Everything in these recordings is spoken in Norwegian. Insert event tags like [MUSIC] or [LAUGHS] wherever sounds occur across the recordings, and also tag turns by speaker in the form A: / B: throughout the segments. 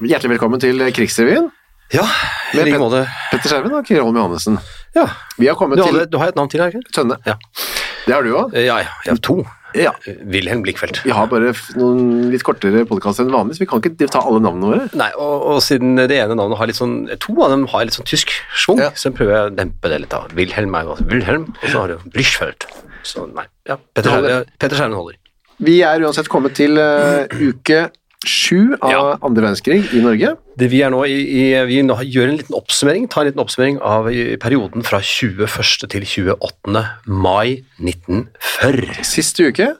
A: Hjertelig velkommen til Krigsrevyen
B: Ja, i
A: Med
B: like
A: Pet-
B: måte.
A: Petter Skjerven og Kyrre Holm Johannessen.
B: Ja.
A: Vi har kommet
B: Du, hadde,
A: til
B: du har et navn til, har du ikke?
A: Tønne.
B: Ja.
A: Det har du òg.
B: Eh, Ja, ja. Jeg har to.
A: Ja.
B: Wilhelm Blikkfeldt.
A: Vi har bare f- noen litt kortere podkast enn vanlig, så vi kan ikke ta alle navnene våre.
B: Nei, og, og siden det ene navnet har litt sånn To av dem har litt sånn tysk schwung,
A: Ja.
B: så prøver jeg å dempe det litt. da. Wilhelm er jo altså Wilhelm, og så har du Blikkfeldt. Så nei. Ja, Petter
A: Det holder.
B: Skjerven- Petter Skjerven holder.
A: Vi er uansett kommet til eh, uke sju av
B: Ja.
A: andre verdenskrig i Norge.
B: Det vi er nå i, i Vi nå gjør en liten oppsummering, tar en liten oppsummering av i- perioden fra 21. til 28. mai 1940.
A: Siste uke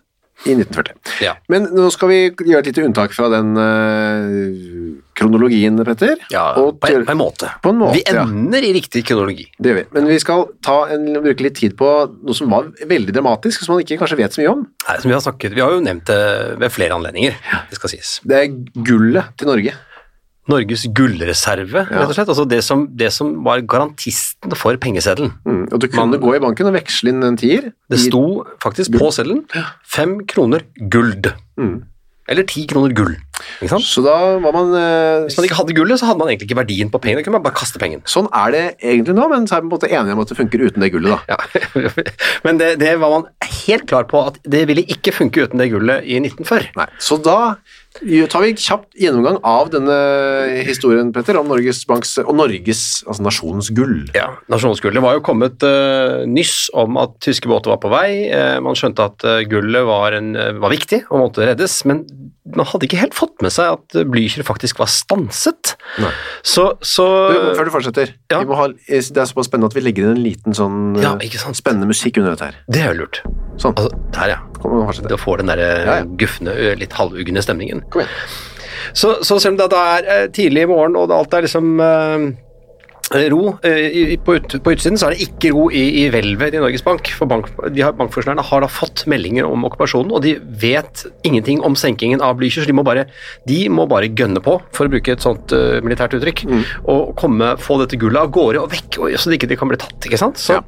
A: i 1940.
B: Ja.
A: Men nå skal vi gjøre et lite unntak fra den eh, kronologien, Petter.
B: Ja, på,
A: og
B: en,
A: gjøre-
B: på en måte.
A: På en måte,
B: Vi
A: ja.
B: ender i riktig kronologi.
A: Det gjør vi. Men vi skal ta en, bruke litt tid på noe som var veldig dramatisk, som man ikke kanskje vet så mye om.
B: Nei, som Vi har snakket, vi har jo nevnt det ved flere anledninger. det skal sies.
A: Det er gullet til Norge.
B: Norges gullreserve, rett og slett. Altså det som, det som var garantisten for pengeseddelen.
A: Mm. Og du kunne
B: Man-
A: gå i banken og veksle inn en tier.
B: Det
A: i-
B: sto faktisk på seddelen fem kroner guld.
A: Mm.
B: Eller ti kroner gull. Ikke sant?
A: Så da var man eh,
B: Hvis man ikke hadde gullet, så hadde man egentlig ikke verdien på pengene. Da kunne man bare kaste pengene.
A: Sånn er det egentlig nå, men så er vi på en måte enige om at det funker uten det gullet, da.
B: Ja. [LAUGHS] Men det, det var man helt klar på at det ville ikke funke uten det gullet i 1940.
A: Nei. Så da tar vi kjapt gjennomgang av denne historien, Petter, om Norges Banks og Norges, altså nasjonens gull.
B: Ja, Nasjonsgullet var jo kommet eh, nyss om at tyske båter var på vei. Eh, man skjønte at eh, gullet var, en, eh, var viktig og måtte reddes, men man hadde ikke helt fått med seg at eh, Blücher faktisk var stanset.
A: Nei.
B: Så, så
A: Du, før du fortsetter,
B: ja.
A: vi må ha, eh, det er såpass spennende at vi legger inn en liten sånn eh,
B: Ja, ikke sant.
A: spennende musikk under dette her.
B: Det er jo lurt.
A: Sånn.
B: Altså, der, ja.
A: Kom, vi må fortsette.
B: Du får den der eh,
A: Ja, ja.
B: gufne, ø, litt halvugne stemningen.
A: Kom igjen.
B: Så, så selv om det da er eh, tidlig i morgen og det alt er liksom eh, ro eh, i- i- på, ut, på utsiden, så er det ikke ro i, i hvelvet i Norges Bank. For bank, de har, bankfunksjonærene har da fått meldinger om okkupasjonen, og de vet ingenting om senkingen av Blücher, så de må, bare, de må bare gønne på, for å bruke et sånt eh, militært uttrykk,
A: Mm.
B: og komme, få dette gullet av gårde og vekk, og, så det ikke det kan bli tatt. ikke sant? Så
A: Ja.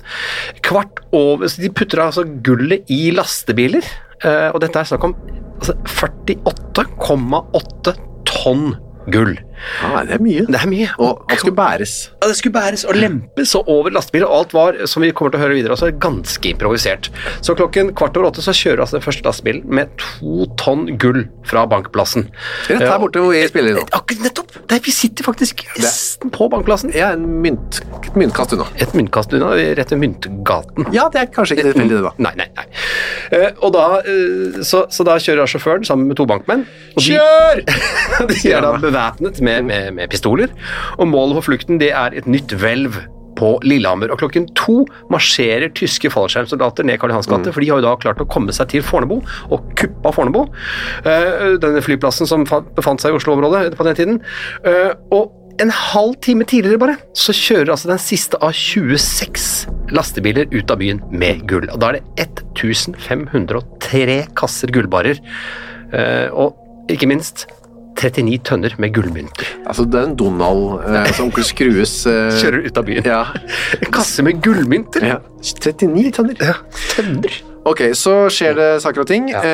B: kvart over, så De putter altså gullet i lastebiler, eh, og dette er snakk om altså 48,8 tonn gull.
A: Ja, det er mye.
B: Det er mye.
A: Og alt skulle bæres.
B: Ja, det skulle bæres og lempes og over lastebiler, og alt var, som vi kommer til å høre videre, også, ganske improvisert. Så klokken kvart over åtte så kjører altså den første lastebilen med to tonn gull fra Bankplassen.
A: Rett her borte hvor vi spiller nå.
B: Akkurat nettopp! Der vi sitter faktisk nesten på Bankplassen.
A: Jeg er en mynt, et myntkast unna.
B: Et myntkast unna, rett ved Myntgaten. Mm.
A: Ja, det er kanskje ikke tilfeldig, det, da.
B: Nei, nei, nei. Eh, og da, eh, så, så da kjører sjåføren sammen med to bankmenn. Og de,
A: Kjør!
B: [LAUGHS] de er da bevæpnet med, med, med pistoler. Og målet for flukten det er et nytt hvelv på Lillehammer. Og klokken to marsjerer tyske fallskjermsoldater ned Karl Johans gate, for de har jo da klart å komme seg til Fornebu og kuppa Fornebu. eh, denne flyplassen som fa- befant seg i Oslo-området på den tiden. Eh, og en halv time tidligere bare, så kjører altså den siste av 26 lastebiler ut av byen med gull. Og da er det 1503 kasser gullbarer, eh, og ikke minst 39 tønner med gullmynter.
A: [LAUGHS] Altså, det er en Donald eh, som onkel Skrues eh,
B: Kjører ut av byen.
A: Ja.
B: En kasse med gullmynter?
A: ja. 39 tønner.
B: Ja, Tønner?
A: Ok, så skjer det saker og ting.
B: Ja.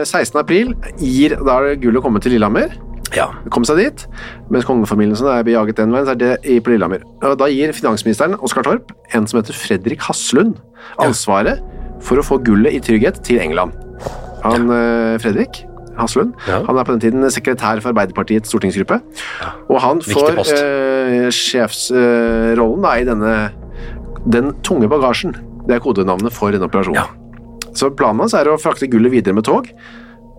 A: Eh, 16. april gir da er det gullet kommet til Lillehammer.
B: Ja.
A: Kom seg dit. Mens kongefamilien som er bejaget den veien, så er det i- på Lillehammer. Og da gir finansministeren Oskar Torp en som heter Fredrik Haslund ansvaret for å få gullet i trygghet til England. Han eh, Fredrik Haslund,
B: Ja.
A: han er på den tiden sekretær for Arbeiderpartiets stortingsgruppe. Og han
B: Viktig
A: får
B: post.
A: eh, sjefsrollen da i denne Den tunge bagasjen. Det er kodenavnet for denne operasjonen.
B: Ja.
A: Så planen hans er å frakte gullet videre med tog.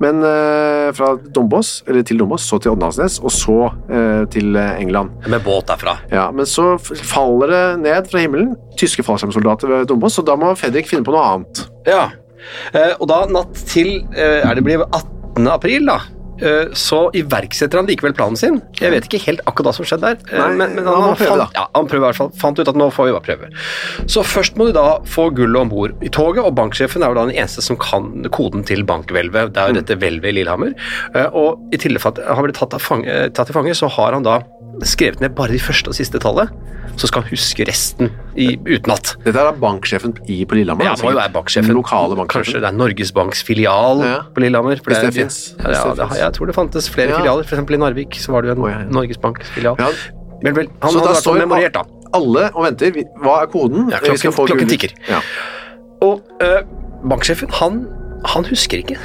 A: Men eh, fra Dombås, eller til Dombås, så til Åndalsnes, og så eh, til eh, England.
B: Med båt derfra.
A: Ja, Men så f- faller det ned fra himmelen tyske fallskjermsoldater ved Dombås, så da må Fredrik finne på noe annet.
B: Ja. Eh, og da natt til eh, er det blir 18. april, da. eh, så iverksetter han likevel planen sin. Jeg vet ikke helt akkurat hva som skjedde der. eh,
A: Nei,
B: men, men
A: han må prøve,
B: fant, ja, han prøver i hvert fall, fant ut at nå får vi bare prøve. Så først må du da få gullet om bord i toget, og banksjefen er jo da den eneste som kan koden til bankhvelvet. Det er jo
A: Mm.
B: dette hvelvet i Lillehammer. Eh, og i tillegg for at han ble tatt, av fange, eh, tatt til fange, så har han da skrevet ned bare de første og siste tallet, så skal han huske resten i, utenat.
A: Dette er da banksjefen i, på Lillehammer.
B: Ja,
A: altså.
B: det må jo være banksjefen.
A: Den lokale banksjefen.
B: Kanskje det er Norges Banks filial
A: Ja.
B: på Lillehammer. for
A: Hvis det
B: er-
A: finnes.
B: Ja,
A: Hvis
B: ja,
A: det
B: det, har- jeg tror det fantes flere
A: Ja.
B: filialer. For eksempel i Narvik så var det jo en
A: Å, ja, ja.
B: Norges Banks filial.
A: Ja.
B: Men vel, han
A: Så
B: hadde
A: da
B: vært
A: står
B: memorert da.
A: alle og venter. Vi- Hva er koden?
B: Ja, klokken-
A: Vi skal få
B: klokken
A: gullet.
B: tikker.
A: Ja.
B: Og eh, banksjefen, han, han husker ikke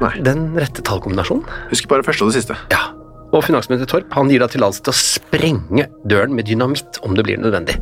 A: Nei.
B: den rette tallkombinasjonen.
A: Husk bare det første og det siste.
B: Ja. Og finansminister Torp han gir da tillatelse til å sprenge døren med dynamitt om det blir nødvendig.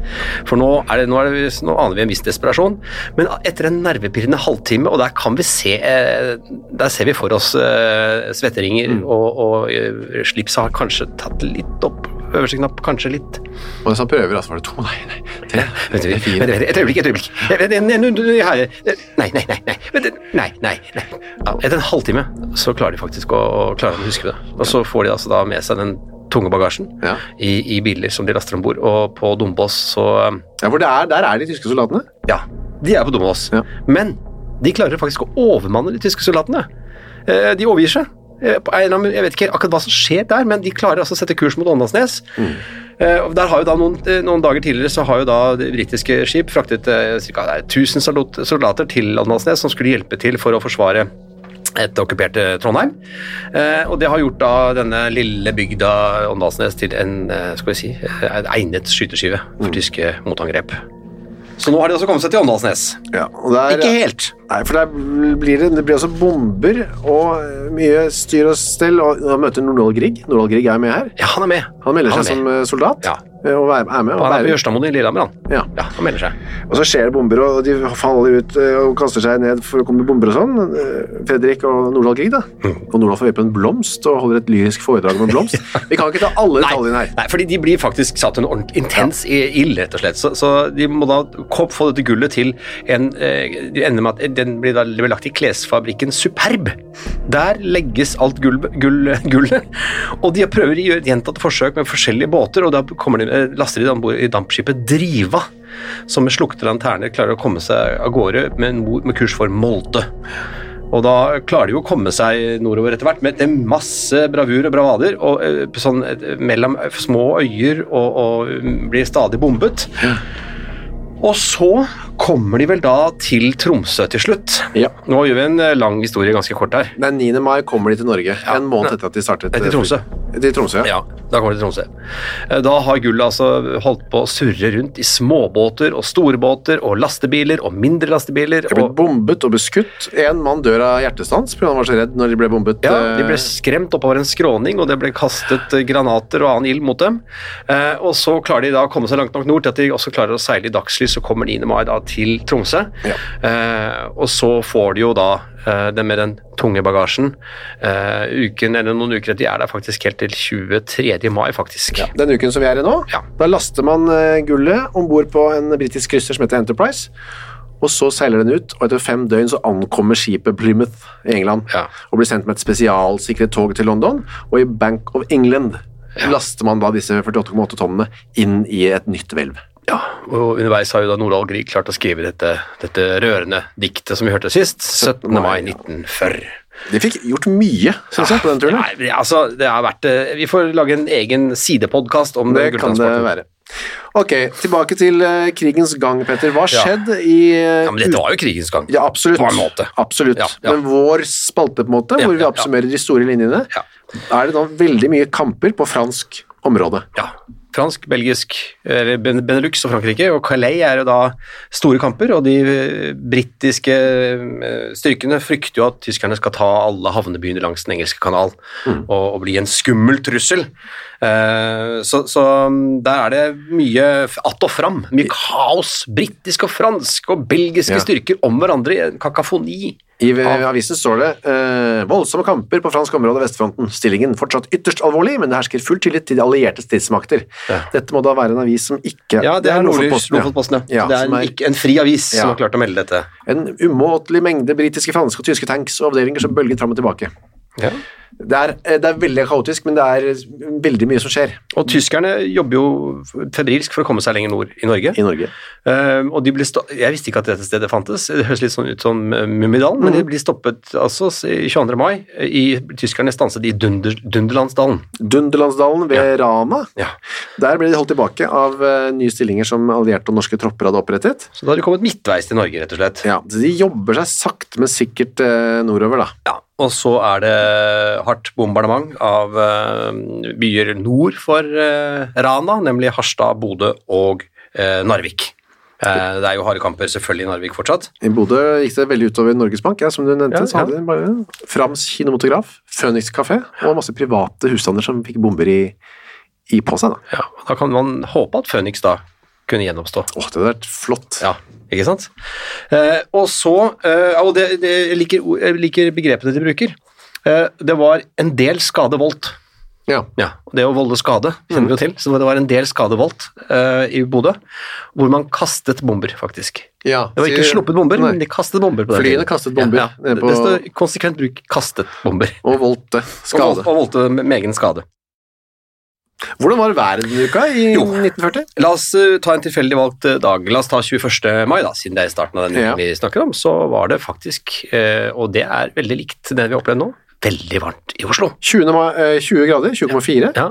B: For nå, er det, nå, er det, nå aner vi en viss desperasjon, men etter en nervepirrende halvtime, og der kan vi se eh, Der ser vi for oss eh, svetteringer,
A: Mm.
B: og, og eh, slipset har kanskje tatt litt opp. Øverste knapp, kanskje litt
A: Og mens han prøver, altså var det to, nei, nei, tre,
B: Vent,
A: det er
B: vent,
A: fire.
B: vent, Et øyeblikk, et øyeblikk. Vent, vent, vent, vent, vent, vent. Nei, nei, nei. nei, Vent, nei, nei, nei. Ja, etter en halvtime så klarer de faktisk å, å, klarer de å huske det. Og så får de altså da med seg den tunge bagasjen
A: Ja.
B: i, i biler som de laster om bord. Og på Dombås så um,
A: Ja, for det er, der er de tyske soldatene.
B: Ja, de er på Dombås.
A: Ja.
B: Men de klarer faktisk å overmanne de tyske soldatene. Eh, De overgir seg. Eh, på en eller annen- Jeg vet ikke akkurat hva som skjer der, men de klarer altså å sette kurs mot Åndalsnes. Eh, og Der har jo da noen, eh, noen dager tidligere så har jo da det britiske skip fraktet eh, ca. 1000 soldat- soldater til Åndalsnes, som skulle hjelpe til for å forsvare et okkuperte Trondheim. Eh, og det har gjort da denne lille bygda Åndalsnes til en eh, skal vi si, en egnet skyteskive for tyske motangrep. Så nå har de også kommet seg til Åndalsnes.
A: Ja, og der,
B: Ikke helt.
A: Nei, for der blir det, det blir også bomber og mye styr og stell, og han møter Nordahl Grieg. Nordahl Grieg er med her.
B: Ja, han er med.
A: Han melder
B: Han er
A: seg som eh, soldat,
B: Ja.
A: eh, og er er med. Og,
B: Han er på
A: bærer-
B: Jørstadmoen i Lillehammer, han.
A: ja.
B: Ja, han melder seg.
A: og så skjer det bomber, og de faller ut eh, og kaster seg ned for å komme bomber og sånn. Eh, Fredrik og Nordahl Grieg, da.
B: Mm.
A: Og Nordahl får høre på en blomst, og holder et lyrisk foredrag om en
B: [LAUGHS]
A: blomst. Vi kan ikke ta alle detaljene her.
B: nei, fordi de blir faktisk satt under ordentlig intens i- ild, rett og slett. Så, så de må da kopp få dette gullet til en eh, de ender med at Den blir da det blir lagt i klesfabrikken Superb. Der legges alt gull, gull, [LAUGHS] gullet. Og de prøver å gjøre et gjentatt forsøk med forskjellige båter, og da kommer de, eh, laster de om bord i dampskipet Driva, som med slukte lanterner klarer å komme seg av gårde med, en mor- med kurs for Molde. Og da klarer de jo å komme seg nordover etter hvert med med masse bravur og bravader. Og eh, på sånn, eh, mellom små øyer og, og mm, blir stadig bombet. Og så kommer de vel da til Tromsø til slutt.
A: Ja.
B: Nå gjør vi en eh, lang historie ganske kort her.
A: Den 9. mai kommer de til Norge, en måned etter at de startet.
B: Til Tromsø.
A: Til Tromsø, ja.
B: Ja, da kommer de til Tromsø. Eh, Da har gullet altså holdt på å surre rundt i småbåter og storbåter og lastebiler og mindre lastebiler.
A: De ble
B: og-
A: bombet og beskutt. En mann dør av hjertestans fordi han var så redd når de ble bombet.
B: Ja, de ble
A: eh,
B: skremt oppover en skråning, og det ble kastet eh, granater og annen ild mot dem. Eh, og så klarer de da å komme seg langt nok nord til at de også klarer å seile i dagslys og kommer 9. mai da til Tromsø.
A: Ja.
B: Eh, og så får de jo da eh, det med den tunge bagasjen eh, uken eller noen uker etter de er der faktisk helt til 23. mai, faktisk.
A: Den uken som vi er i nå,
B: Ja.
A: da laster man eh, gullet om bord på en britisk krysser som heter Enterprise. Og så seiler den ut, og etter fem døgn så ankommer skipet Plymouth i England.
B: Ja.
A: Og blir sendt med et spesialsikret tog til London, og i Bank of England laster man da disse 48,8 tonnene inn i et nytt hvelv.
B: Ja, og underveis har jo da Nordahl Grieg klart å skrive dette, dette rørende diktet som vi hørte sist, 17. mai 1940.
A: De fikk gjort mye, synes jeg, på den turen.
B: Nei, det- altså, det har vært eh, Vi får lage en egen sidepodkast om
A: Det kan det
B: gulltransporten.
A: være. Ok, tilbake til eh, krigens gang, Petter. Hva
B: Ja.
A: skjedde i eh,
B: Ja, men dette var jo krigens gang.
A: Ja, absolutt.
B: På en måte.
A: Absolutt.
B: Ja, ja.
A: Men vår spalte, på en måte,
B: Ja,
A: hvor vi
B: ja, ja.
A: oppsummerer de store linjene,
B: Ja.
A: er det nå veldig mye kamper på fransk område.
B: Ja. Fransk, belgisk, eller Ben- Benelux og Frankrike. Og Calais er jo da store kamper, og de eh, britiske eh, styrkene frykter jo at tyskerne skal ta alle havnebyene langs Den engelske kanal
A: Mm.
B: og, og bli en skummel trussel. Eh, så, så mm, der er det mye f- att og fram. Mye kaos. Britisk og fransk og belgiske
A: Ja.
B: styrker om hverandre i en kakafoni.
A: I eh, avisen står det eh, voldsomme kamper på fransk område av Vestfronten. Stillingen fortsatt ytterst alvorlig, men det hersker full tillit til de allierte stridsmakter.
B: Ja.
A: Dette må da være en avis som ikke
B: Ja, det er Nordlys,
A: ja.
B: Lofotposten, ja.
A: Ja,
B: Så det er
A: som
B: en,
A: er-
B: ikke, en fri avis
A: Ja.
B: som har klart å melde dette.
A: En umåtelig mengde britiske, franske og tyske tanks og avdelinger som bølget fram og tilbake.
B: Ja.
A: Det er, eh, det er veldig kaotisk, men det er veldig mye som skjer
B: Og tyskerne jobber jo febrilsk for å komme seg lenger nord i Norge.
A: i Norge.
B: Eh, og de ble sta jeg visste ikke at dette stedet fantes, det høres litt sånn ut som eh, Mummidalen, men de ble stoppet altså s- 22. mai. eh, I, tyskerne stanset i Dunder, Dunderlandsdalen.
A: Dunderlandsdalen ved Rana.
B: Ja.
A: Der ble de holdt tilbake av eh, nye stillinger som allierte og norske tropper hadde opprettet.
B: Så da har de kommet midtveis til Norge, rett og slett.
A: Ja, så De jobber seg sakte, men sikkert eh, nordover, da.
B: Ja, og så er det hardt bombardement av eh, byer nord for eh, Rana, nemlig Harstad, Bodø og eh, Narvik. Eh, det er jo harde kamper selvfølgelig i Narvik fortsatt.
A: I Bodø gikk det veldig utover Norges Bank, ja, som du nevnte.
B: Ja,
A: så hadde de bare Frams kinematograf, Phoenix kafé og masse private husstander som fikk bomber i, i på seg. da.
B: Ja, og da kan man håpe at Phoenix da kunne gjenoppstå.
A: Åh, det hadde vært flott.
B: Ja, ikke sant? Eh, og så, eh, og det, det, jeg, liker, ord- jeg liker begrepene de bruker, eh, det var en del skade voldt.
A: Ja. Mm.
B: Ja, og det å volde skade kjenner vi jo til, så det var en del skade voldt eh, i Bodø, hvor man kastet bomber faktisk.
A: Ja,
B: Det var ikke
A: sier-
B: sluppet bomber,
A: Nei.
B: men de kastet bomber. på den
A: Flyene
B: tiden.
A: kastet bomber
B: Ja, ja.
A: ned på-
B: Det står konsekvent bruk 'kastet bomber'.
A: Og voldte.
B: Og
A: Skade.
B: vold- Og voldte med med egen skade.
A: Hvordan var været denne uka i
B: Jo.
A: 1940?
B: La oss eh, ta en tilfeldig valgt eh, dag. La oss ta 21. mai, da, siden det er i starten av den uken
A: Ja.
B: vi snakker om. Så var det faktisk, eh, og det er veldig likt det vi har opplevd nå, veldig varmt i Oslo.
A: 20, ma- eh, 20 grader, 20,4.
B: Ja.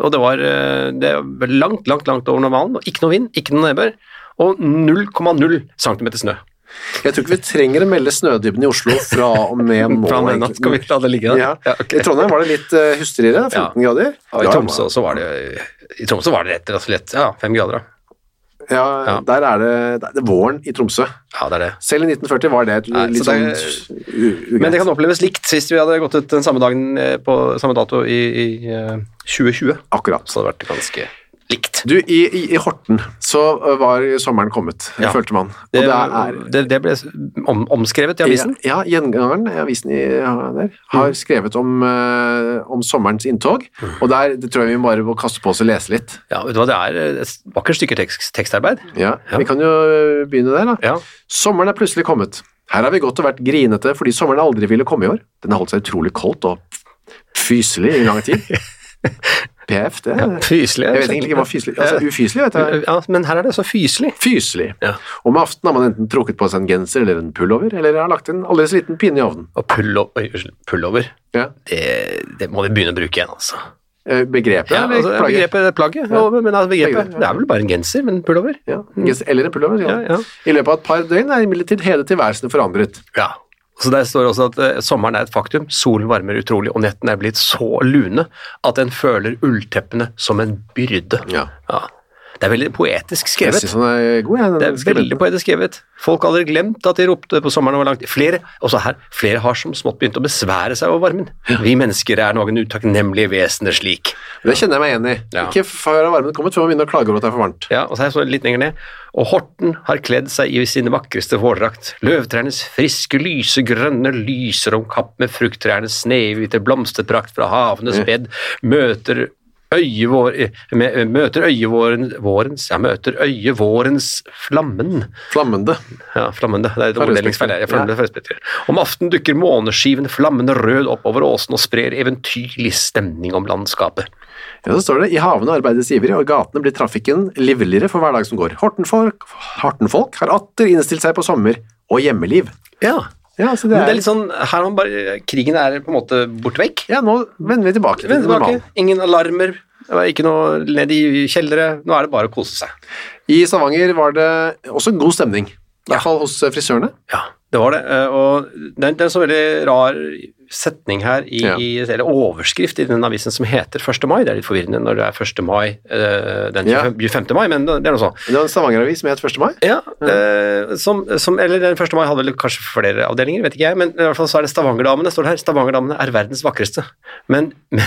B: Og det var, eh, det var langt, langt, langt over normalen. og Ikke noe vind, ikke noe nedbør. Og 0,0 cm snø.
A: Jeg tror ikke vi trenger å melde snødybden i Oslo fra og
B: [LAUGHS]
A: med nå.
B: Fra nå
A: egentlig.
B: skal vi la det ligge der.
A: ja.
B: ok.
A: I Trondheim var det litt eh, hustrigere, 15 grader.
B: Og i
A: Da-
B: Tromsø også var det i Tromsø var det rett og slett ja, fem grader. da.
A: Ja,
B: Ja.
A: der er det, det er våren i Tromsø.
B: Ja, det er det.
A: Selv i 1940 var det et
B: Nei,
A: litt
B: så
A: sånn
B: det-
A: u- ugreit.
B: Men det kan oppleves likt sist vi hadde gått ut den samme dagen eh, på samme dato i, i eh, 2020.
A: Akkurat.
B: Så hadde det vært ganske likt.
A: Du, i, i, i Horten så eh, var sommeren kommet,
B: Ja.
A: følte man. Og
B: Det,
A: det er
B: det, det ble om, omskrevet i avisen. Mm.
A: Ja, ja, gjengangeren i avisen i, ja, der, har skrevet om, eh, om sommerens inntog, og der det tror jeg vi bare må kaste på oss og lese litt.
B: Ja, vet du hva, Det er et vakkert stykke tekst, tekstarbeid.
A: Ja,
B: Ja.
A: Vi kan jo eh, begynne der, da.
B: Ja.
A: Sommeren er plutselig kommet. Her har vi gått og vært grinete fordi sommeren aldri ville komme i år. Den har holdt seg utrolig koldt og fyselig i lang
B: [LAUGHS]
A: tid. PF, det
B: Fyselig.
A: Jeg vet egentlig ikke hva fyselig altså,
B: Ja.
A: Ufyselig, vet jeg.
B: Ja, men her er det så fyselig.
A: Fyselig.
B: Ja.
A: Om aftenen har man enten trukket på seg en genser eller en pullover, eller har lagt en aldri så liten pinne i ovnen.
B: Og pullo- oi, unnskyld, pullover,
A: Ja.
B: det, det må vi begynne å bruke igjen, altså.
A: Eh, Begrepet
B: Ja,
A: eller
B: altså
A: plagget?
B: begrepet plagget. Ja. Men altså, begrepet,
A: Plagget, ja.
B: det er vel bare en genser, men pullover.
A: Ja, genser Eller en pullover. sier han.
B: Ja, ja.
A: I løpet av et par døgn er imidlertid hele tilværelsen forandret.
B: Ja. Så Der står også at eh, sommeren er et faktum, solen varmer utrolig, og nettene er blitt så lune at en føler ullteppene som en byrde.
A: Ja.
B: Det er veldig poetisk
A: Jeg
B: skrevet.
A: syns han er eh, god, jeg. den
B: Det er veldig
A: skribenten.
B: poetisk skrevet. Folk hadde glemt at de ropte på sommeren over langt. Flere, også her, flere har som smått begynt å besvære seg over varmen. Vi mennesker er noen utakknemlige vesener slik.
A: Det kjenner jeg meg igjen i.
B: Ja.
A: Ikke før varmen kommet, før man begynner å klage over at det er for varmt.
B: Ja, og så her står det litt lenger ned. Og Horten har kledd seg i sine vakreste vårdrakt. Løvtrærnes friske, lyse grønne lyser om kapp med frukttrærnes snehvite blomsterprakt fra havenes bed. Møter øyevår... eh, med- eh, Møter øyevåren, vårens Ja, møter øyevårens flammen.
A: Flammende.
B: Ja, flammende. Det er et
A: Fra
B: orddelingsfeil her. Jeg føler
A: Ja.
B: det fra Rødspekter. Om aften dukker måneskiven flammende rød opp over åsen og sprer eventyrlig stemning om landskapet.
A: Ja, så står det i havene arbeides ivrig, og i gatene blir trafikken livligere for hver dag som går. Hortenfolk, Hortenfolk har atter innstilt seg på sommer og hjemmeliv.
B: Ja.
A: Ja, så det
B: Men
A: er, sånn-
B: det er litt sånn, her har man bare, Krigen er på en måte borte vekk.
A: ja nå vender vi tilbake til
B: Vend
A: det normale.
B: tilbake. Ingen alarmer. Det var ikke noe ned i kjellere. Nå er det bare å kose seg.
A: I Stavanger var det også god stemning. I hvert fall hos eh, frisørene.
B: Ja, det var det. Eh, Og det er det er en så veldig rar setning her, i,
A: Ja.
B: i, eller overskrift i den avisen som heter 1. mai. Det er litt forvirrende når det er 1. mai eh, den
A: Ja.
B: 25. 25. mai, men det er noe sånn. sånt.
A: Det var en Stavanger-avis som het 1. mai.
B: Ja, eh, som, som, eller den 1. mai hadde vel kanskje flere avdelinger, vet ikke jeg, men i hvert fall så er det Stavangerdamene, står det her. Stavangerdamene er verdens vakreste. Men, [LAUGHS] men,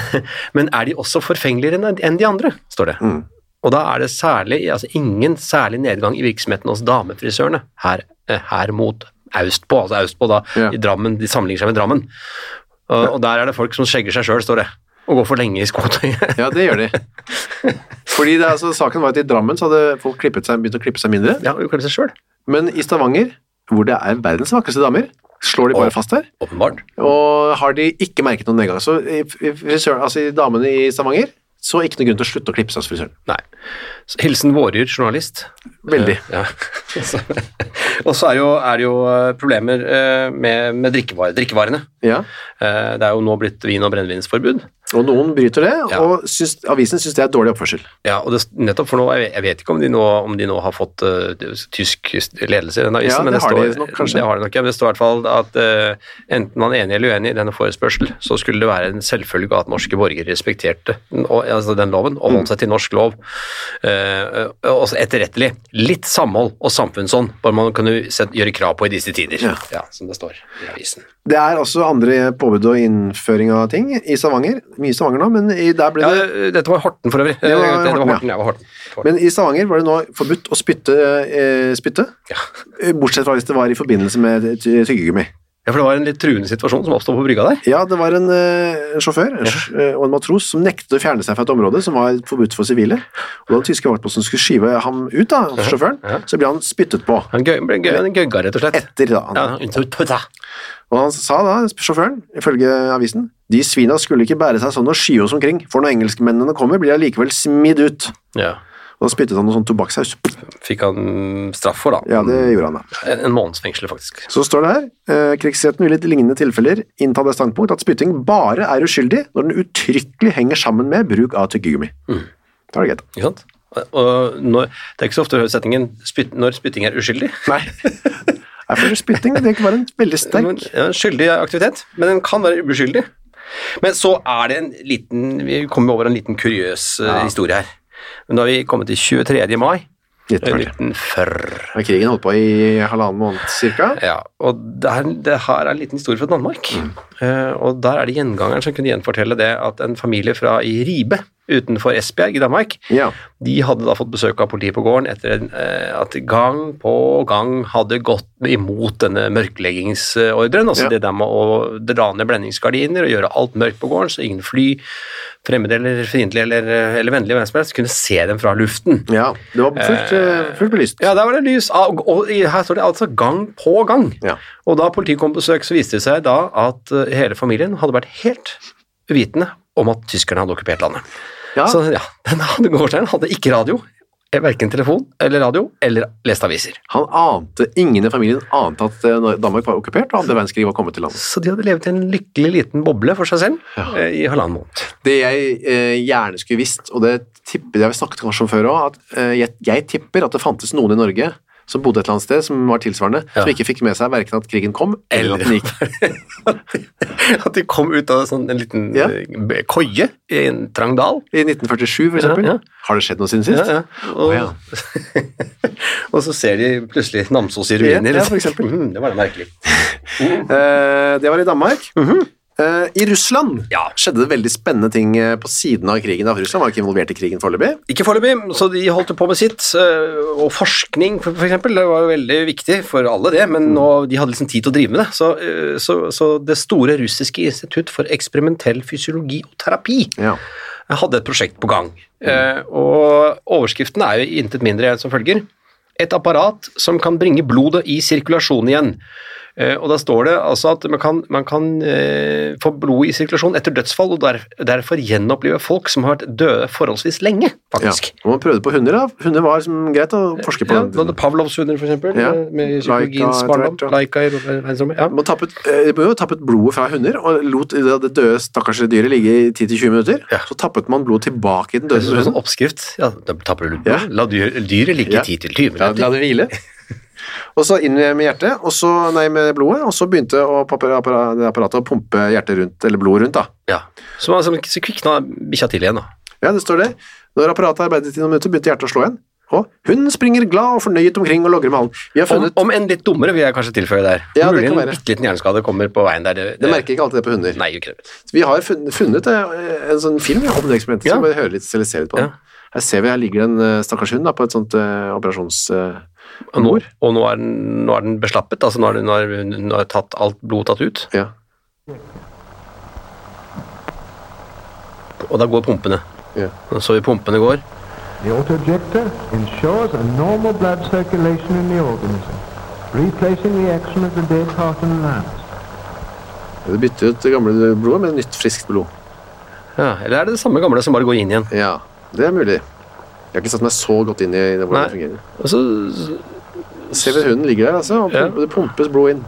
B: men er de også forfengeligere enn- enn de andre, står det.
A: Mm.
B: Og da er det særlig, altså ingen særlig nedgang i virksomheten hos damefrisørene, her, eh, her mot Austpå, altså Austpå da,
A: Ja.
B: i Drammen, de sammenligner seg med Drammen. Og, og der er det folk som skjegger seg sjøl, står det. Og går for lenge i skotøyet. [LAUGHS]
A: Ja, det [LAUGHS] gjør de. Fordi det, er altså, saken var at i Drammen så hadde folk klippet seg, begynt å klippe seg mindre,
B: ja, og klipper seg sjøl.
A: men i Stavanger, hvor det er verdens vakreste damer, slår de bare fast her.
B: Åpenbart.
A: Og har de ikke merket noen nedgang. Så i frisøren, altså i damene i Stavanger så ikke noen grunn til å slutte å klippe seg hos frisøren.
B: Nei. Så Hilsen Vårjord, journalist.
A: Veldig.
B: Ja. Så- [LAUGHS] og så er, jo, er det jo eh, problemer eh, med, med drikkevarer, drikkevarene.
A: Ja.
B: Eh, Det er jo nå blitt vin- og brennevinsforbud.
A: Og noen bryter det,
B: Ja.
A: og syns, avisen syns det er dårlig oppførsel.
B: Ja, og det, nettopp for nå, jeg vet- jeg vet ikke om de nå, om de nå har fått eh, tysk ledelse i den
A: Ja,
B: avisen, men
A: det
B: det,
A: har
B: står,
A: de nok, kanskje.
B: det har de nok, ja, men det står i hvert fall at eh, enten man er enig eller uenig i denne forespørsel, så skulle det være en selvfølge at norske borgere respekterte den, og, altså den loven og holdt seg til norsk lov. Eh, eh, også etterrettelig. Litt samhold og samfunnsånd bør man kunne set, gjøre krav på i disse tider,
A: Ja.
B: ja, som det står i avisen.
A: Det er også andre påbud og innføring av ting i Stavanger. Mye i Stavanger nå, men i, der ble
B: Ja,
A: det
B: det- dette var Horten for øvrig.
A: Det var
B: Eh, dette
A: Horten, ja.
B: Horten, ja, det var Horten. Horten.
A: Men i Stavanger var det nå forbudt å spytte, eh, spytte
B: ja.
A: eh, bortsett fra hvis det var i forbindelse med ty- tyggegummi.
B: ja, for det var en litt truende situasjon som oppstod på brygga der.
A: Ja, det var en, eh, en sjåfør en sj- eh, og en matros som nektet å fjerne seg fra et område som var forbudt for sivile. Og da den tyske vaktposten skulle skyve ham ut, da, sjåføren,
B: ja.
A: så ble han spyttet på.
B: Han gøy, ble gøy, han gøgga, rett og slett.
A: Etter da. han-
B: Ja, han-
A: Og han sa da, sjåføren, ifølge avisen, de svina skulle ikke bære seg sånn og sky oss omkring, for når engelskmennene kommer blir de allikevel smidd ut.
B: ja.
A: Og da spyttet han noe sånn tobakkssaus.
B: Fikk han straff for, da.
A: Ja, det gjorde han da.
B: En, en måneds fengsel, faktisk.
A: Så står det her eh, krigsretten vil i lignende tilfeller innta det standpunkt at spytting bare er uskyldig når den uttrykkelig henger sammen med bruk av tyggegummi.
B: Mm.
A: Da er det greit.
B: Ikke sant? Og når, det er ikke så ofte du hører setningen spytt, 'når spytting er uskyldig'.
A: Nei. Jeg føler spytting det kan være en veldig sterk
B: Men, ja, skyldig aktivitet, men den kan være ubeskyldig. Men så er det en liten Vi kommer over en liten kuriøs eh, historie her. Men da har vi kommet til 23. mai eh,
A: 1940.
B: 1940.
A: Ja, krigen holdt på i halvannen måned cirka.
B: Ja, og det her, det her er en liten historie fra Danmark. Eh, og der er det gjengangeren som kunne gjenfortelle det at en familie fra i Ribe utenfor Esbjerg i Danmark,
A: Ja.
B: de hadde da fått besøk av politiet på gården etter en, eh, at gang på gang hadde gått imot denne mørkleggingsordren. Altså
A: Ja.
B: det der med å dra ned blendingsgardiner og gjøre alt mørkt på gården, så ingen fly, fremmede eller fiendtlige eller, eh, eller vennlige, hvem som helst, kunne se dem fra luften.
A: ja. Det var fullt, eh, fullt belyst.
B: Ja, der var det lys. Og, og i- her står det altså gang på gang.
A: Ja.
B: Og da politiet kom på besøk, så viste det seg da at eh, hele familien hadde vært helt uvitende om at tyskerne hadde okkupert landet.
A: Ja.
B: Så ja, den hadde gårdsteinen hadde ikke radio, eh, verken telefon eller radio, eller lest aviser.
A: Han ante, ingen i familien ante at eh, når Danmark var okkupert og andre verdenskrig var kommet til landet.
B: Så de hadde levd i en lykkelig liten boble for seg selv
A: Ja.
B: eh, i halvannen måned.
A: Det jeg eh, gjerne skulle visst, og det tipper jeg vi snakket kanskje om før òg, at eh, jeg, jeg tipper at det fantes noen i Norge som bodde et eller annet sted som var tilsvarende,
B: Ja.
A: som ikke fikk med seg verken at krigen kom, eller at den gikk. [LAUGHS]
B: [LAUGHS] At de kom ut av sånn, en liten
A: Ja.
B: eh, b- køye i en trang dal.
A: I 1947, for eksempel.
B: Ja, ja.
A: Har det skjedd noe siden sist?
B: Ja, ja. Og,
A: Å, ja.
B: og så ser de plutselig Namsos i ruiner.
A: Ja, ja, for eksempel.
B: [LAUGHS] Mm, det var da merkelig.
A: Eh, det var i Danmark. Eh, I Russland
B: Mhm. Ja.
A: skjedde det veldig spennende ting eh, på siden av krigen. Da. Russland var ikke involvert i krigen foreløpig.
B: Ikke foreløpig, så de holdt jo på med sitt. øh, Og forskning, for for eksempel, det var jo veldig viktig for alle det, men nå, de hadde liksom tid til å drive med det. Så, øh, så, så det store russiske institutt for eksperimentell fysiologi og terapi eh,
A: Ja.
B: hadde et prosjekt på gang. Eh, Og overskriften er jo intet mindre enn som følger. Et apparat som kan bringe blodet i sirkulasjon igjen. Eh, Og da står det altså at man kan, man kan eh, få blod i sirkulasjon etter dødsfall, og der, derfor gjenopplive folk som har vært døde forholdsvis lenge,
A: Ja.
B: faktisk.
A: Og man prøvde på hunder. da. Hunder var som, greit å forske på.
B: Ja,
A: den
B: da hadde
A: tiden.
B: Pavlovs hunder, for eksempel,
A: Ja.
B: med
A: Laika
B: psykologiens
A: etter
B: barndom.
A: hvert, ja.
B: Laika i verdensrommet. Ja.
A: Man tappet, eh, de ble jo tappet blodet fra hunder og lot det det døde stakkars dyret ligge i 10-20 minutter.
B: Ja.
A: Så tappet man blod tilbake i den
B: Det
A: døde
B: er en sånn
A: hunden.
B: oppskrift. Ja, da tapper du lupa.
A: Ja.
B: La dyr, dyret ligge
A: Ja.
B: i 10-20
A: La,
B: minutter.
A: la det hvile. Og så inn med hjertet, og så, nei, med blodet, og så begynte å, pappa- appara- det apparatet å pumpe hjertet rundt, eller blodet rundt. da.
B: Ja. Så, man- så- så kvikna bikkja til igjen, da.
A: Ja, det står det. Når apparatet arbeidet i noen minutter, begynte hjertet å slå igjen. Og hunden springer glad og fornøyet omkring og logrer med halen. Vi har
B: Om,
A: funnet,
B: om en litt dummere, vil jeg kanskje tilføye der.
A: Ja, det
B: Mulig
A: kan
B: en
A: være.
B: bitte liten hjerneskade kommer på veien der. Det,
A: Det merker ikke alltid det på hunder.
B: Nei, gjør ikke det.
A: Vi har funnet, funnet eh, en sånn film om det eksperimentet,
B: Ja.
A: så vi hører litt eller ser litt på den.
B: Ja.
A: Her ser vi, her ligger det en eh, stakkars hund da, på et sånt eh, operasjons... eh,
B: Og nå, og nå, er, den, nå er den beslappet, altså nå er, den- nå er, nå er tatt, alt blod tatt ut,
A: ja.
B: og da går pumpene.
A: Ja.
B: Og Så vi pumpene går.
C: The autojector ensures a normal blood circulation in the organism. replacing the action of the dead Tartan lance.
A: Du bytter ut det gamle blodet med nytt, friskt blod.
B: Ja, eller er det det samme gamle som bare går inn igjen?
A: Ja, det er mulig. Jeg har ikke satt meg så godt inn i det, hvordan det
B: Nei.
A: fungerer.
B: Og så, så-
A: Ser vi hunden ligger der, altså, og
B: Ja.
A: pump- det pumpes blod inn.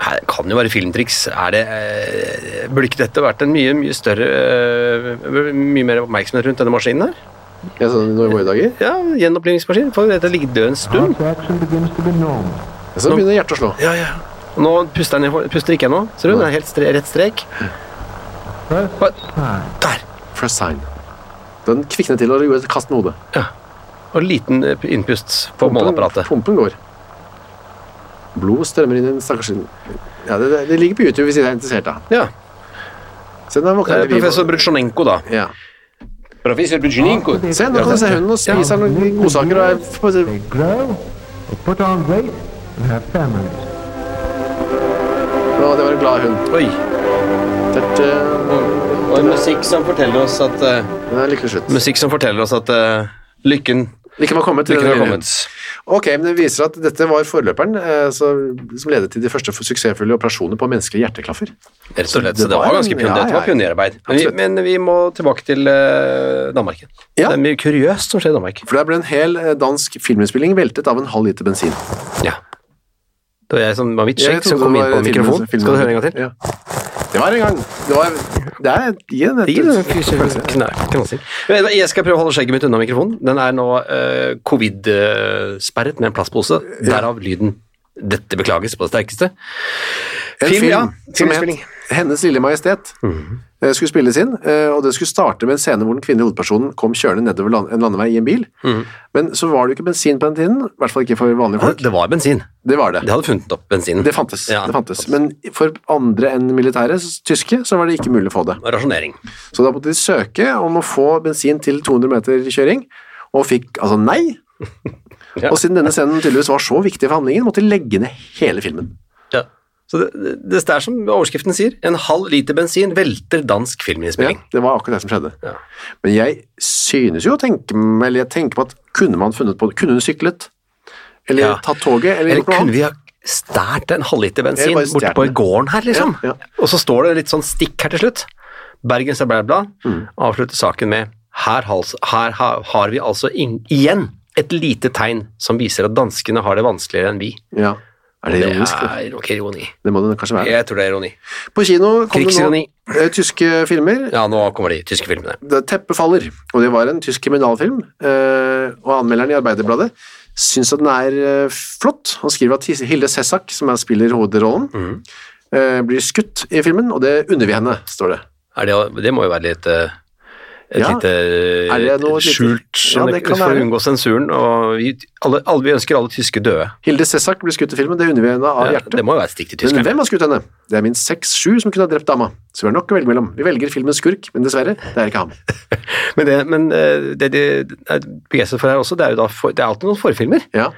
B: her kan jo være filmtriks. Er det, eh, burde ikke dette vært en mye, mye større eh, Mye mer oppmerksomhet rundt denne maskinen her?
A: Ja, sånn nå i våre dager.
B: Ja, gjenopplivningsmaskin. Får dette ligge død en stund.
C: Heart action begins to be normal.
A: Ja, Så
B: Nå-
A: begynner hjertet å slå.
B: Ja, ja. Og nå puster den i- puster ikke ennå. Ser du? Den er helt stre rett strek.
C: First
B: Hva-
C: time.
B: Der!
A: First sign. Den kviknet til og gjorde et kast med hodet.
B: Og liten eh, innpust på
A: Pumpen-
B: måleapparatet.
A: Pumpen går. Blod strømmer inn i den stakkars ja, det, det- det ligger på YouTube hvis dere er interessert. da.
B: Ja.
A: Se, nå
B: eh,
A: våkner vi.
B: Professor Brutsjonenko, da.
A: Ja.
B: Professor Brutsjonenko.
A: Se, nå kan du se hunden og spiser noen godsaker og er på
C: They grow, they put on weight, and have families.
A: Å, det var en glad hund.
B: Oi.
A: Det er,
B: Og en musikk som forteller oss at
A: eh, det er lykkelig slutt.
B: Musikk som forteller oss at eh, lykken
A: Lykken var kommet. til
B: Lykken
A: den
B: har
A: lille
B: kommet.
A: hunden. Ok, men det viser at dette var forløperen eh, så, som ledet til de første suksessfulle operasjoner på menneskelige hjerteklaffer.
B: Rett og slett. Så det var ganske pioner,
A: Ja, ja,
B: dette var
A: ja.
B: pionerarbeid. Men vi,
A: Absolutt.
B: men vi må tilbake til uh, Danmark. igjen.
A: Ja.
B: Det er mye kuriøst som skjer i Danmark.
A: For der ble en hel eh, dansk filminnspilling veltet av en halv liter bensin.
B: Ja. Det var jeg som var mitt
A: Jeg
B: skjegg som
A: trodde
B: kom
A: det
B: inn på
A: var
B: mikrofonen.
A: filmen-
B: Skal du høre en gang til?
A: Ja. Det var en gang. Det var Det er Gi den
B: Gi det en
A: et
B: kn- kn- knasing. Men Jeg skal prøve å holde skjegget mitt unna mikrofonen. Den er nå eh, covid-sperret med en plastpose. Derav lyden. Dette beklages på det sterkeste.
A: En
B: Film, ja.
A: Som het
B: Filmspilling. Mhm.
A: Hennes lille majestet eh, skulle spilles inn, eh, og det skulle starte med en scene hvor den kvinnelige hovedpersonen kom kjørende nedover land, en landevei i en bil.
B: Mhm.
A: Men så var det jo ikke bensin på den tiden, i hvert fall ikke for vanlige folk.
B: Det var bensin.
A: Det var det.
B: De hadde funnet opp bensinen.
A: Det fantes.
B: Ja,
A: det fantes. Men for andre enn militære, s- tyske, så var det ikke mulig å få det.
B: Rasjonering.
A: Så da måtte de søke om å få bensin til 200 meter kjøring, og fikk altså nei.
B: [LAUGHS] Ja.
A: Og siden denne scenen tydeligvis var så viktig for handlingen, måtte de legge ned hele filmen.
B: Ja. Så det, det, det er som overskriften sier, en halv liter bensin velter dansk
A: Ja,
B: filminnspilling.
A: det var akkurat det som skjedde.
B: Ja.
A: Men jeg synes jo å tenke meg, eller jeg tenker på at kunne man funnet på det, kunne hun syklet? Eller
B: Ja.
A: tatt toget? Eller,
B: Eller
A: gjort noe
B: kunne
A: annet?
B: vi ha stært en halvliter bensin
A: Eller bare
B: borte
A: stjert
B: på
A: den.
B: gården her, liksom?
A: Ja, ja.
B: Og så står det litt sånn stikk her til slutt. Bergens Blad
A: Mm.
B: avslutter saken med her, hals- her ha, har vi altså ing- igjen et lite tegn som viser at danskene har det vanskeligere enn vi.
A: Ja. Er det ironisk?
B: Det
A: Det,
B: er nok ironi.
A: det må det kanskje være.
B: Jeg tror det er ironi.
A: På kino kom det nå
B: Krigsironi.
A: eh, tyske filmer.
B: Ja, nå kommer de tyske filmene.
A: Det- Teppet faller, og det var en tysk kriminalfilm, eh, og anmelderen i Arbeiderbladet syns at den er eh, flott. Han skriver at His- Hilde Sessak, som er spiller hovedrollen, eh, blir skutt i filmen, og det unner vi henne, står det.
B: Er det, det må jo være litt eh, et
A: Ja.
B: lite eh,
A: Er det noe lite-
B: skjult sånn
A: Ja, det kan
B: for å
A: være.
B: unngå sensuren. Og vi, alle, alle, vi ønsker alle tyske døde.
A: Hilde Sessak blir skutt i filmen, det unner vi henne av hjertet.
B: Det må jo være et stikk til
A: Men
B: Tyskland.
A: hvem har skutt henne? Det er minst seks-sju som kunne ha drept dama. Så vi har nok å velge mellom. Vi velger filmens skurk, men dessverre, det er ikke ham.
B: Men det, men eh, det de er begeistret for her også, det er jo da for, det er alltid noen forfilmer.
A: Ja.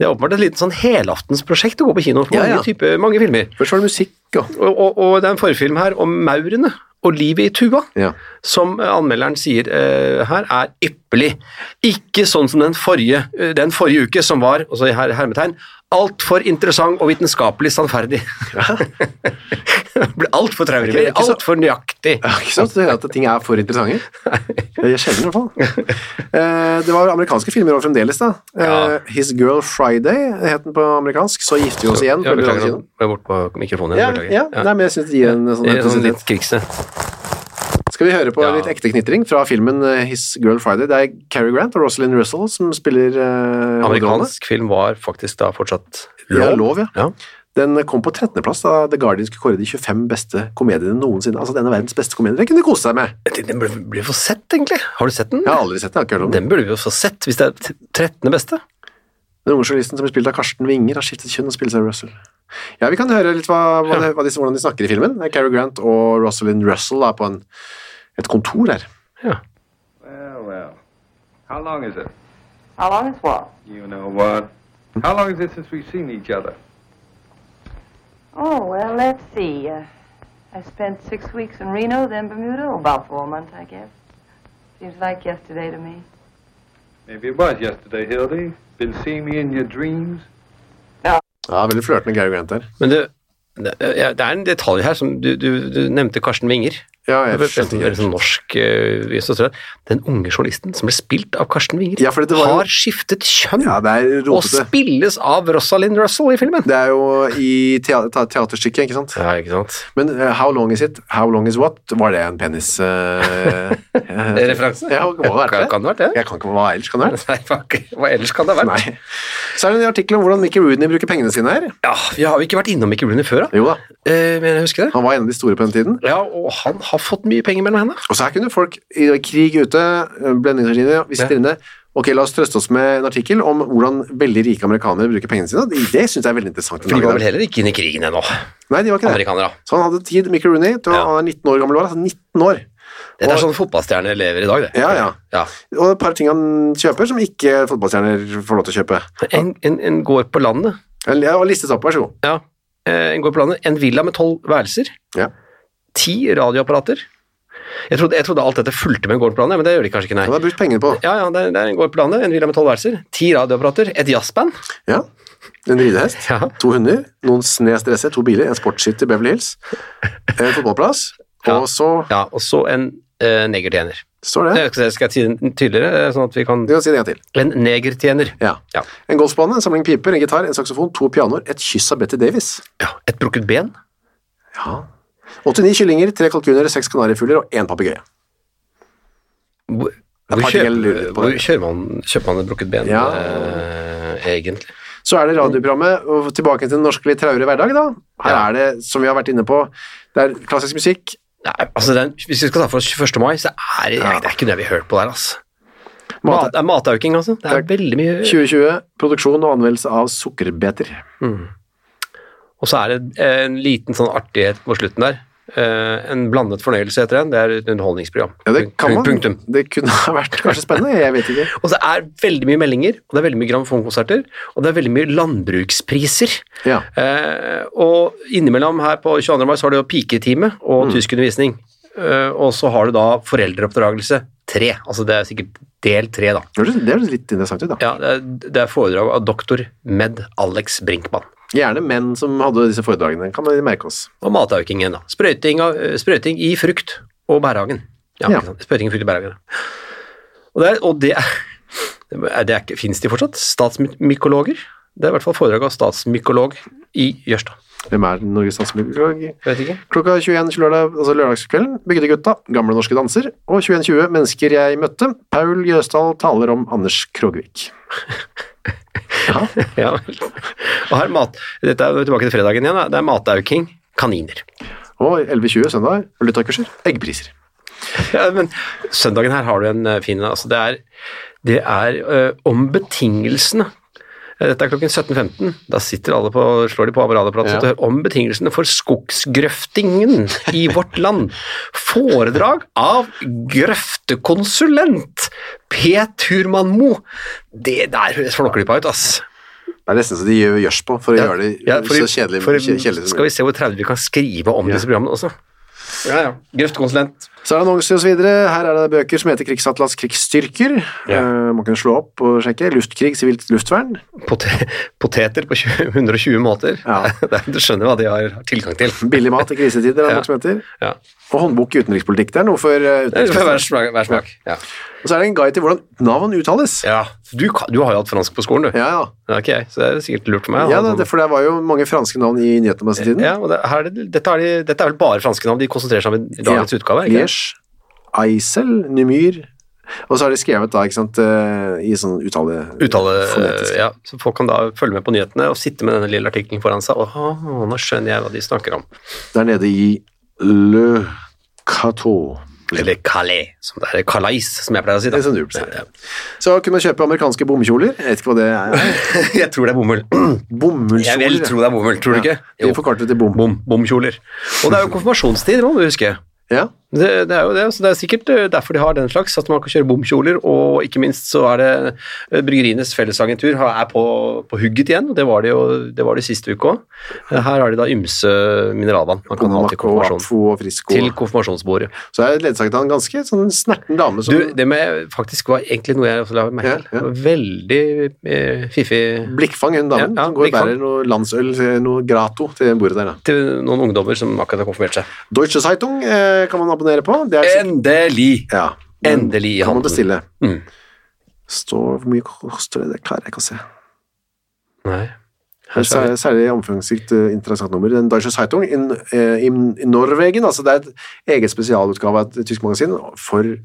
B: Det er åpenbart et lite sånn helaftensprosjekt å gå på kino for
A: Ja,
B: mange,
A: ja.
B: typer- mange filmer.
A: Først var det musikk, og
B: Og, og, og det er en forfilm her om maurene og livet i Tuva.
A: ja.
B: som anmelderen sier eh, her, er ypperlig. Ikke sånn som den forrige, eh, den forrige uke, som var og så her, hermetegn, altfor interessant og vitenskapelig sannferdig. Det [LAUGHS] Blir altfor traurig,
A: Det er ikke så-
B: altfor nøyaktig.
A: Ja, [LAUGHS] Ikke sant? Det er at ting er for interessante. Det er sjelden, i hvert fall. Eh, Det var amerikanske filmer også fremdeles, da. Eh,
B: Ja.
A: His Girl Friday het den på amerikansk. Så gifter vi oss igjen.
B: Ja,
A: på
B: beklager,
A: kino.
B: nå ble jeg bort på mikrofonen.
A: Ja,
B: igjen, beklager.
A: ja. Nei, men jeg synes det gir en sånn
B: Det er Sånn
A: intensitet.
B: litt krigse.
A: Skal vi høre på
B: Ja.
A: litt ekte knitring fra filmen eh, His Girl Friday? Det er Cary Grant og Rosalind Russell som spiller eh, hovedrollene.
B: Amerikansk film var faktisk da fortsatt
A: Ja, lov, ja.
B: Ja.
A: Den kom på 13.-plass da The Guardian skulle kåre de 25 beste komediene noensinne. Altså den er verdens beste komedier. Den kunne de kose seg med.
B: Jeg tenkte, Den burde burde vi få sett, egentlig. Har du sett den?
A: Jeg har aldri sett den. jeg har ikke hørt om den.
B: Den burde vi jo få sett, hvis det er t- 13. beste.
A: Den unge journalisten som blir spilt av Karsten Winger, har skiftet kjønn og spiller seg Russell. Ja, vi kan høre litt hva, hva, det- hva disse, hvordan de snakker i filmen. Det er Cary Grant og Rosalind Russell da, på en, et kontor her.
B: Ja.
D: Well, well. How long is it?
E: How long is what?
D: You know what? How long is it since we've seen each other?
E: Oh, well, let's see. Uh, I spent six weeks in Reno, then Bermuda, oh, about four months, I guess. Seems like yesterday to me.
D: Maybe it was yesterday, Hildy. Been seeing me in your dreams?
A: Ja, veldig flørtende Gary Grant der.
B: Men det, det, ja, det er en detalj her som du, du, du nevnte Karsten Winger.
A: Ja, jeg
B: Det er
A: skjønte ikke
B: en sånn
A: helt.
B: norsk eh, illustratør. Den unge journalisten som ble spilt av Karsten Winger,
A: Ja, for dette var jo-
B: har skiftet kjønn
A: Ja, det er
B: og
A: rotete.
B: spilles av Rosalind Russell i filmen.
A: Det er jo i tea- ta- teaterstykket, ikke sant?
B: Ja, ikke sant? [LAUGHS]
A: Men eh, How Long Is It? How Long Is What? Var det en penis... eh, eh,
B: Referanse?
A: Ja, hva var det?
B: Kan, kan det ha vært det?
A: Jeg kan ikke hva ellers kan det være.
B: Nei, fuck. Hva ellers kan det ha vært?
A: Nei. Så er det en artikkel om hvordan Mickey Rooney bruker pengene sine her.
B: Ja, vi har jo ikke vært innom Mickey Rooney før, da.
A: Jo da,
B: Eh, men jeg husker det.
A: han var en av de store på den tiden.
B: Ja, og han har fått mye penger mellom henne.
A: Og så her kunne folk i krig ute, eh, blendingsmaskiner, vi sitter
B: Ja.
A: inne. Ok, la oss trøste oss med en artikkel om hvordan veldig rike amerikanere bruker pengene sine. Det synes jeg er veldig interessant.
B: For de var vel heller ikke inne i krigen ennå,
A: Nei, de var ikke det.
B: amerikanere.
A: Så han hadde tid, Mickey Rooney, til å,
B: Ja.
A: han er 19 år gammel, var, altså 19 år.
B: Dette
A: Og-
B: er sånn fotballstjerner lever i dag, det.
A: Ja, ja.
B: Ja.
A: Og et par ting han kjøper som ikke fotballstjerner får lov til å kjøpe.
B: En, en, en går på landet.
A: Jeg har listet opp, vær så god.
B: Ja. Eh, En går på landet. En villa med tolv værelser.
A: Ja.
B: Ti radioapparater. Jeg trodde, jeg trodde alt dette fulgte med gården på landet, men det gjør de kanskje ikke, nei.
A: Han har brukt pengene på.
B: Ja, ja, det er, det er en gård på landet, en villa med tolv værelser, ti radioapparater, et jazzband.
A: Ja. En ridehest.
B: Ja.
A: To hunder, noen snes dresser, to biler, en sportshytte i Beverly Hills, en fotballplass,
B: Ja.
A: og så
B: ja og så en eh, negertjener.
A: står det
B: Det skal jeg- skal jeg si tydeligere, eh, sånn at vi kan
A: Du kan si det en gang til.
B: En negertjener.
A: Ja.
B: Ja.
A: En golfbane, en samling piper, en gitar, en saksofon, to pianoer, et kyss av Betty Davis.
B: Ja, et brukket ben.
A: Ja. 89 kyllinger, tre kalkuner, seks kanarifugler og én papegøye. er
B: Hvor, hvor,
A: et par ting jeg lurer på.
B: kjøper, hvor kjører man, kjøper man et brukket ben,
A: Ja.
B: eh, egentlig?
A: Så er det radioprogrammet, og tilbake til den norske litt traurige hverdag, da. Her
B: Ja.
A: er det, som vi har vært inne på, det er klassisk musikk.
B: Nei, altså den, Hvis vi skal ta for oss 21. mai, så er det,
A: Ja.
B: det er ikke noe vi har hørt på der. altså.
A: Mat,
B: Mat, det er matauking, altså. Det er veldig mye
A: 2020, produksjon og anvendelse av sukkerbeter.
B: Og så er det en liten sånn artighet på slutten der. Eh, en blandet fornøyelse heter den. Det er et underholdningsprogram.
A: Ja, det kan man.
B: Punktum.
A: Det kunne ha vært kanskje spennende, jeg vet ikke.
B: Og det er veldig mye meldinger, og det er veldig mye grammofonkonserter, og det er veldig mye landbrukspriser.
A: Ja.
B: Eh, og innimellom her på 22. mai så har du jo piketime og tyskundervisning. Eh, og så har du da foreldreoppdragelse tre. Altså det er sikkert del tre, da.
A: Det høres det høres litt interessant ut, da.
B: Ja, det er, det er foredrag av doktor med Alex Brinkmann.
A: Gjerne menn som hadde disse foredragene, kan vi merke oss.
B: Og mataukingen, da. Sprøyting, av, eh, sprøyting i frukt og bærhagen. Ja,
A: Ja.
B: ikke sant? Sprøyting i frukt og bærhagen. ja. Og det, er, [LAUGHS] og det, er, det er ikke, finnes de fortsatt? Statsmykologer? Det er i hvert fall foredrag av statsmykolog i Jørstad.
A: Hvem er Norges statsmykolog?
B: Vet ikke.
A: Klokka 21 lørdag, altså lørdagskvelden bygde gutta, gamle norske danser, og 21.20 mennesker jeg møtte. Paul Jøsdal taler om Anders Krogvik. [LAUGHS] Ja,
B: Ja, vel. og her mat, dette er jo tilbake til fredagen igjen. Da. Det er matauking, kaniner.
A: og 11.20 søndag, valutakurser, eggpriser.
B: Ja, men søndagen her har du en eh, fin altså Det er, det er eh, om betingelsene. Eh, Dette er klokken 17.15. Da sitter alle på, slår de på radioapparatet
A: Ja.
B: og hører om betingelsene for skogsgrøftingen i vårt land. Foredrag av grøftekonsulent P. Turman Mo. Det der høres flåklypa ut, ass.
A: Det er nesten så de gjør gjørs på for å gjøre det
B: Ja, for-
A: så kjedelig,
B: for-
A: kje- kjedelig som
B: Skal vi
A: mulig.
B: se hvor traurig vi kan skrive om disse programmene også. Ja, ja. Grøftekonsulent.
A: Så er det annonser og så videre. Her er det bøker som heter Krigsatlas krigsstyrker.
B: Ja.
A: Eh, man kan slå opp og sjekke. Luftkrig, sivilt luftvern.
B: Pote- poteter på 20, 120 måter.
A: Ja.
B: [LAUGHS] Det er- Du skjønner hva de har har tilgang til.
A: [LAUGHS] Billig mat i krisetider, er det
B: Ja.
A: noe som heter.
B: Ja.
A: Og håndbok i utenrikspolitikk. Det er noe for eh,
B: Det er for Hver
A: utenriksministeren.
B: smak. Hver smak. Ja.
A: Og så er det en guide til hvordan navn uttales.
B: Ja. Du, kan- du har jo hatt fransk på skolen, du.
A: Ja, ja.
B: Det er ikke jeg, så det er sikkert lurt for meg. å
A: Ja,
B: ha
A: da,
B: sånn-
A: det, for det var jo mange franske navn i nyhetene på den tiden.
B: ja, og det, her er det, dette, er de, dette er vel bare franske navn de konsentrerer seg om i dagens
A: Ja.
B: utgave? er Ikke? det?
A: Liège, Eisel, Numyr. Og så har de skrevet da, ikke sant, eh, i sånn uttale...
B: Uttale,
A: fonetisk.
B: ja, så Folk kan da følge med på nyhetene og sitte med denne lille artikkelen foran seg. Åh, nå skjønner jeg hva de snakker om.
A: Der nede i Le Cateau.
B: Eller Calais, som det er Calais, som jeg pleier å si. da.
A: Det er sånn du pleier.
B: Ja, ja.
A: Så kunne man kjøpe amerikanske bommekjoler. Jeg vet ikke hva det er.
B: [LAUGHS] Jeg tror det er bomull. Jeg vil
A: Bomullskjoler.
B: tro det er bomull, tror du ikke?
A: Vi forkortet til bom.
B: Bom, bomkjoler. Og det er jo konfirmasjonstid, må du huske.
A: Ja.
B: Det, det er jo det, så det er sikkert eh, derfor de har den slags, at man kan kjøre bomkjoler, og ikke minst så er det eh, Bryggerienes fellesagentur har- er på, på hugget igjen, og det var det jo det var det siste uka òg. Her har de da ymse mineralvann man kan ha
A: Kononako,
B: til konfirmasjon.
A: Apfo og Frisco.
B: Til konfirmasjonsbordet.
A: Så er det ledsaget av en ganske sånn snerten dame som
B: Du, det med faktisk var egentlig noe jeg også la merke til.
A: Ja, ja.
B: Veldig eh, fiffig
A: Blikkfang, hun damen.
B: Ja, ja,
A: som går og
B: blikkfang.
A: bærer noe landsøl, noe grato til bordet der. Da.
B: til noen ungdommer som akkurat har konfirmert seg.
A: Deutsche Zeitung eh, kan man abonnere på. Det er sikkert-
B: Endelig!
A: ja, den
B: Endelig i
A: Kan
B: handelen.
A: man bestille.
B: Mm.
A: Står hvor mye koster det? Det klarer jeg ikke å se.
B: Nei.
A: Det er særlig, særlig omfangsrikt eh, interessant nummer. Den Deutsche Zeitung in, eh, in, in Norwegen, altså det er et eget spesialutgave av et tysk magasin for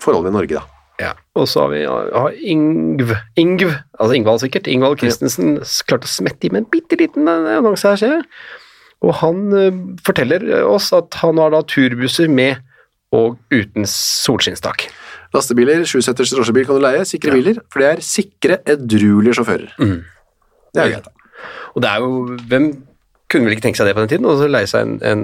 A: forholdet i Norge, da.
B: Ja. Og så har vi har Ingv, Ingv, altså Ingvald sikkert, Ingvald Christensen s- klarte å smette i med en bitte liten eh, annonse her, ser jeg. Og han eh, forteller oss at han har da turbusser med og uten solskinnstak.
A: Lastebiler, sjuseters drosjebil kan du leie, sikre biler, for det er sikre, edruelige sjåfører.
B: Mm.
A: Det er jo greit. da.
B: Og det er jo Hvem kunne vel ikke tenke seg det på den tiden? Og så leie seg en, en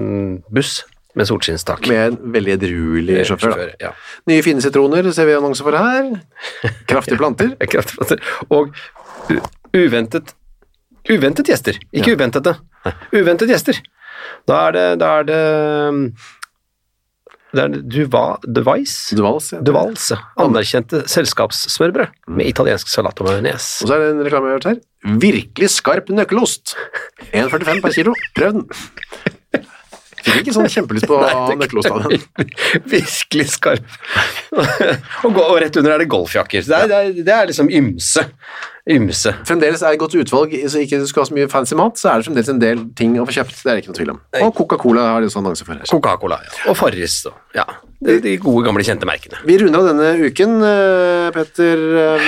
B: buss med solskinnstak.
A: Med en veldig edruelig
B: Eh,
A: sjåfør. da.
B: ja. [LAUGHS]
A: Nye fine sitroner ser vi annonser for her. Kraftige
B: [LAUGHS]
A: planter.
B: Det er kraftplanter. Og u- uventet Uventet gjester, ikke uventete. Uventet gjester. Da er det Da er det um, det er Duva, Device
A: Dvals. ja.
B: Duvalse. Anerkjente selskapssmørbrød med italiensk salat og majones.
A: Og så er det en reklame jeg har hørt her. Virkelig skarp nøkkelost. 1,45 per kilo. Prøv den. Fikk ikke sånn kjempelyst på nøkkelost av den.
B: [LAUGHS] Virkelig skarp. og, gå- og rett under er det golfjakker. Det er, det er, det er liksom ymse. Ymse.
A: Fremdeles er det godt utvalg, så ikke du skal ha så mye fancy mat, så er det fremdeles en del ting å få kjøpt. Det er det ikke noe tvil om. Og Coca-Cola har de også annonser for her.
B: Coca-Cola ja. og Farris. og- Ja. De, de gode, gamle, kjente merkene.
A: Vi runder av denne uken, eh, Petter, eh,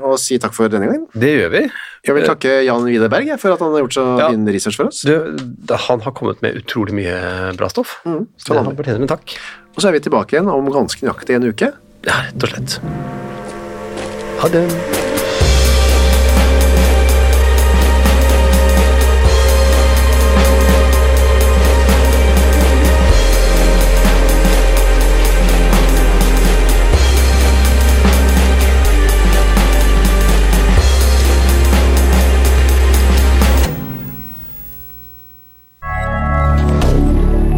A: med å si takk for denne gangen.
B: Det gjør vi.
A: Jeg vil takke Jan Vidar Berg jeg, for at han har gjort så
B: Ja.
A: fin research for oss.
B: Du, da- han har kommet med utrolig mye bra stoff. så
A: sånn er
B: han
A: det.
B: fortjener en takk.
A: Og så er vi tilbake igjen om ganske nøyaktig en uke.
B: Ja, rett og slett. Ha det.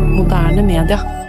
F: Moderne media.